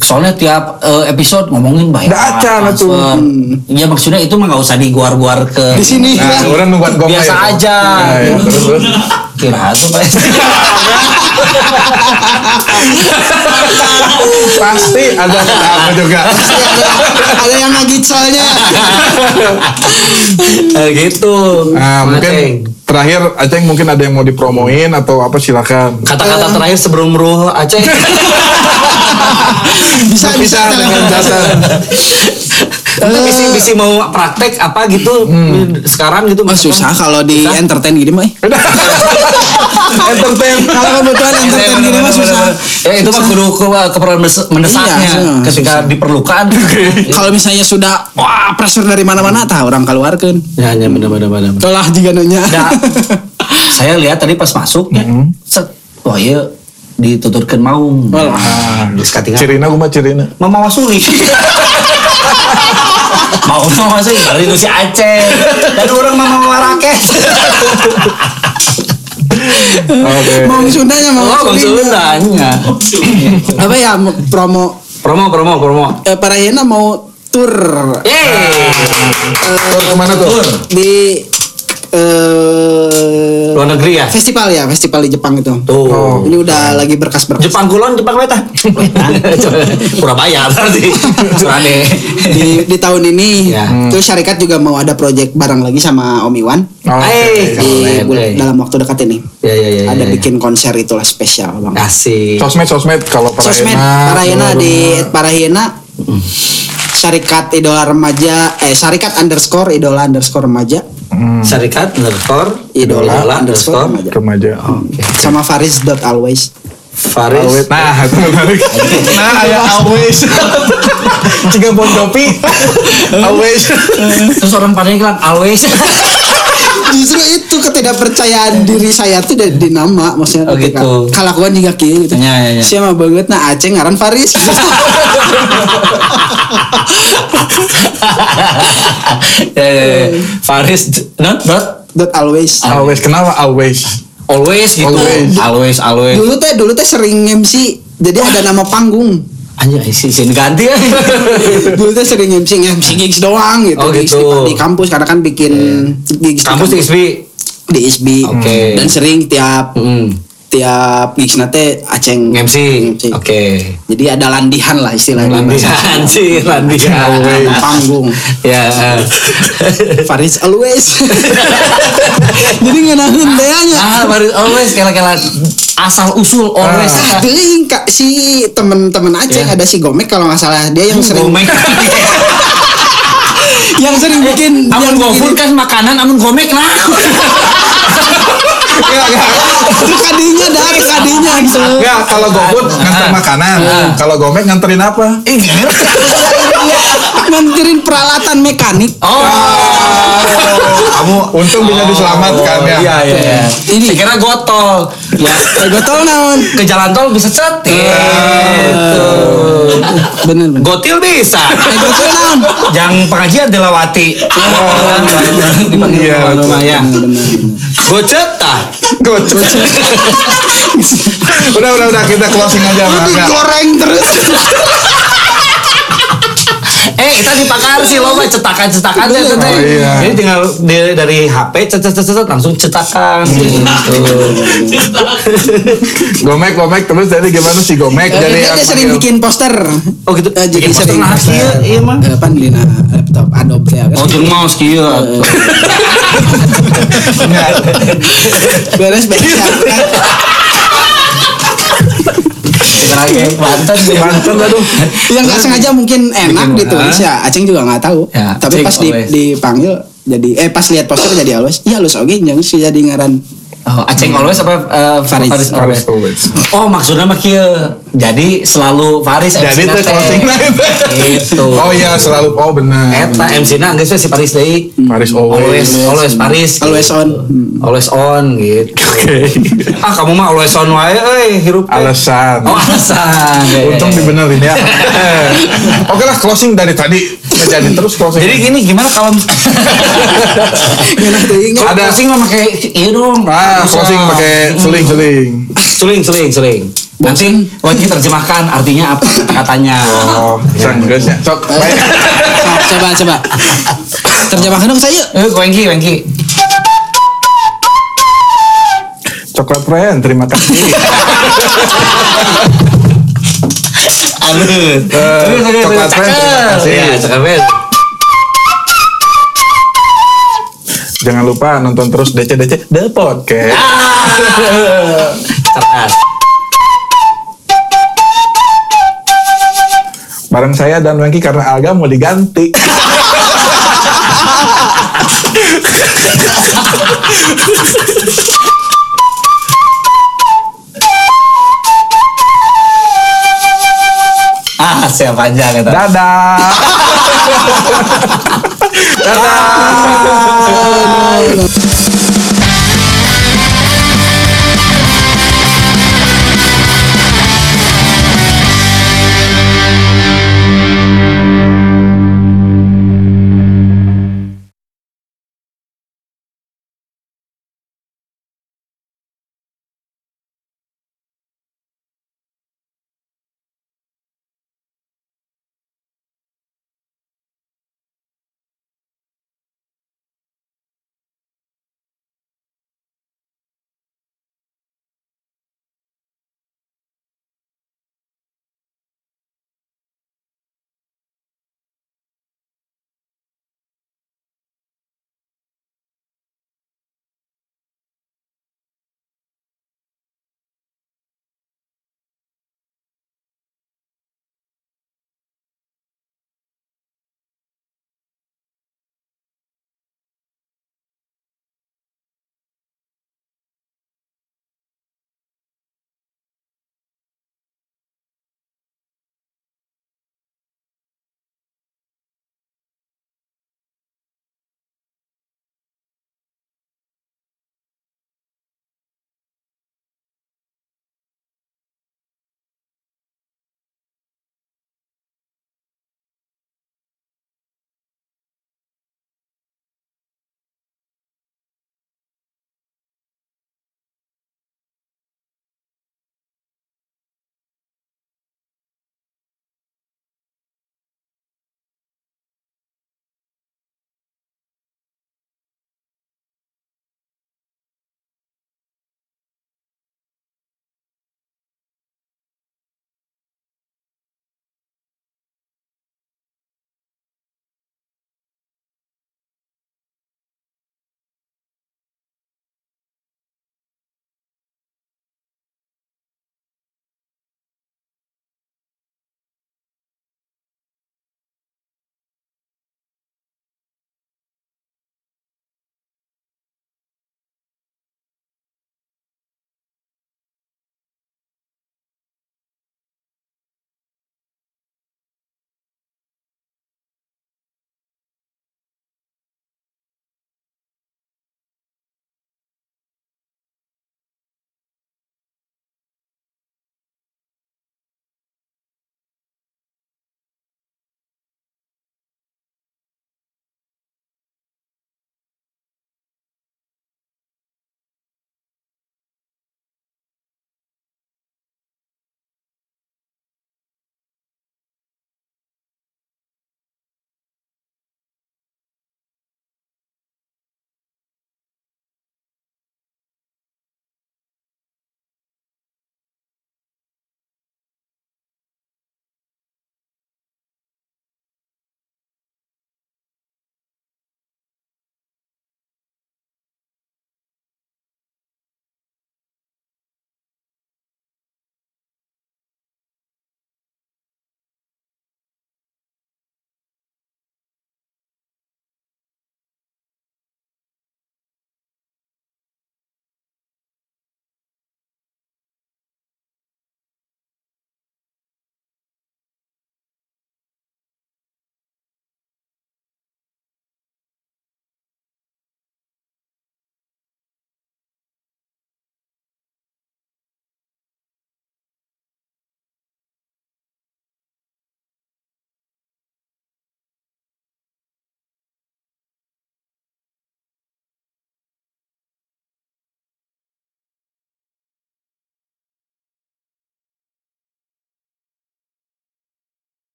Soalnya tiap eh, episode ngomongin bayar. Nggak acan, transfer. atuh. Ya maksudnya itu mah nggak usah diguar-guar ke di sini Nah, orang nungguan gong Iya. Biasa ya. aja. Nah, ya, terus, terus. kira tuh Pak. Pasti ada apa juga. ada yang ngajit soalnya. Eh, gitu. Nah, Mana, mungkin Ceng? terakhir Aceng mungkin ada yang mau dipromoin atau apa silakan. kata-kata terakhir sebelum ruh Aceh. Bisa bisa. Berpisah dengan jasa. Itu bisa bisa mau praktek apa gitu sekarang gitu Wah, Oh, susah kalau di entertain gini mah. eh. Entertain. Kalau kebutuhan Iya, entertain gini mah susah. Ya itu mah kudu ke keperluan mendes- mendesaknya Iya, susah. ketika diperlukan. Kalau misalnya sudah wah pressure dari mana-mana tah orang keluarkan. Ya, ya benar benar benar. Telah jika nanya. Nah, saya lihat tadi pas masuk ya, Hmm. set, wah iya dituturkan maung. Nah, geus katingal. Cirina gue mah Cirina. Mama Wasuli. Mau Mama Wasuli, kali itu si Aceh. Dan orang Mama Warakes. Oh, Oke. Mau Sundanya mau. Oh, Bang Sundanya. Sulunanya. Apa ya mau promo Promo, promo, promo. eh, para Hena mau tour eh, Yeay. Ah. Tur kemana tuh? di eh Luar negeri ya? festival ya, festival di Jepang itu. Tuh. Ini udah lagi berkas-berkas. Jepang Kulon, Jepang Weta. Surabaya berarti. Surane. di, di tahun ini Hmm. Ya. terus syarikat juga mau ada project bareng lagi sama Om Iwan Oh, oke. Eh. boleh, di bulan- boleh. dalam waktu dekat ini Ya, ya, ya. ada ya, ya. bikin konser itulah spesial bang Kasih. Sosmed sosmed kalau sosmed Nah, Parahena Hmm. di Parahena syarikat idola remaja eh syarikat underscore idola underscore remaja Hmm, Serikat underscore idola, underscore underscore remaja remaja. sama Faris dot always Faris. Nah, itu menarik. Nah, ya always. Jika bon kopi, always. Terus orang Padang bilang always. justru itu ketidakpercayaan diri saya tuh dari di nama maksudnya Oh, ketika gitu. kalakuan juga kayak gitu Ya, ya, ya. siapa banget nah Aceh ngaran Faris ya, ya, ya. Faris nah, not not dot always Always kenapa always? always gitu. Always. always. always. dulu teh dulu teh sering MC jadi ada nama panggung Anjir, sih sih ganti ya. dulu teh sering MC MC gigs doang gitu, Oh, Gigs di, gitu. Iya. di kampus karena kan bikin gigs Kampus di, kampus. XB. di ISB Oke. dan sering tiap Hmm. tiap gigs nate aceng MC. Oke. jadi ada landihan lah istilahnya Landian sih, Landian. Always. panggung Ya. Faris always jadi ngenahin deanya ah, baru always kela-kela asal usul always. Ah, deuing, Kak, si temen-temen Aceh Ya. Iya. ada si Gomek kalau nggak salah dia yang sering Gomek. yang sering bikin Amun yang gofur bikin- kan makanan, amun gomek lah. itu kadinya dah kadinya gitu Enggak, kalau GoFood nganter makanan. Kalau Gomek nganterin apa? nganterin peralatan mekanik Oh. Kamu untung bisa diselamatkan ya. Iya, iya, iya. Ini. Saya kira gotol. iya. Ya, Eh, gotol naon ke jalan tol bisa Eh. Eh. cetit. bener bener Gotil bisa. Eh, gotol naon Yang pengajian dilewati. Dipanggil Oh, Iya, nama-nama, ya. bener bener Gocet ah. tah. Gocek. udah, udah, udah kita closing aja, Mas. Enggak. goreng terus Eh, kita dipakar sih lo mah cetakan-cetakan aja tuh, Teh. Oh, iya. Jadi tinggal di- dari HP cet-cet-cet langsung cetakan. Hmm. Gitu. Gomek, Gomek terus jadi gimana sih Gomek? gitu. Eh, Jadi dia dia sering bikin poster Oh gitu. Eh, jadi Bikin poster sering nah, iya, iya, mah. Eh, pan dina laptop Adobe Eh, ya Oh, jeung mouse kieu. atuh. beres beres ya. Terakhir Banten Banten aduh. yang ya, nggak sengaja mungkin enak Bikin ditulis mana? ya Aceng juga nggak tahu Ya, Aceng tapi pas di, always. dipanggil jadi eh pas lihat poster jadi halus iya halus oke jangan sih jadi ngaran Oh, Aceng always apa eh, Faris. Faris Harus always. always. Oh maksudnya mah kieu. Jadi selalu Faris Jadi MC-na tuh teh. closing lain. Gitu. Oh iya selalu oh benar. Eta MC na geus we si Paris deui. Paris Always, always. always Paris. Always gitu. on. Hmm. Always on gitu. Ah kamu mah always on wae euy hirup. eh. teh. Alasan. Oh alasan. Ya, ya, Untung ya. dibenerin ya. Oke lah closing dari tadi nggak jadi terus closing. Jadi gini gimana kalau Ngenah teuing nya. ada closing mah pakai iya dong. ah closing Iya. pakai seling-seling. Suling, suling, suling. Nanti wajib terjemahkan artinya apa katanya. Oh, sanggeus ya. Sok. baik. coba coba terjemahkan dong saya Eh, Wengki, Wengki. Coklat friend, terima kasih. Aduh. Eh, Coklat friend, terima kasih. Iya, cakep. Jangan lupa nonton terus DC-DC The Podcast. Cerdas. Bareng saya dan Wengki karena Alga mau diganti. Ah, siapa aja kata. Dadah. Dadah.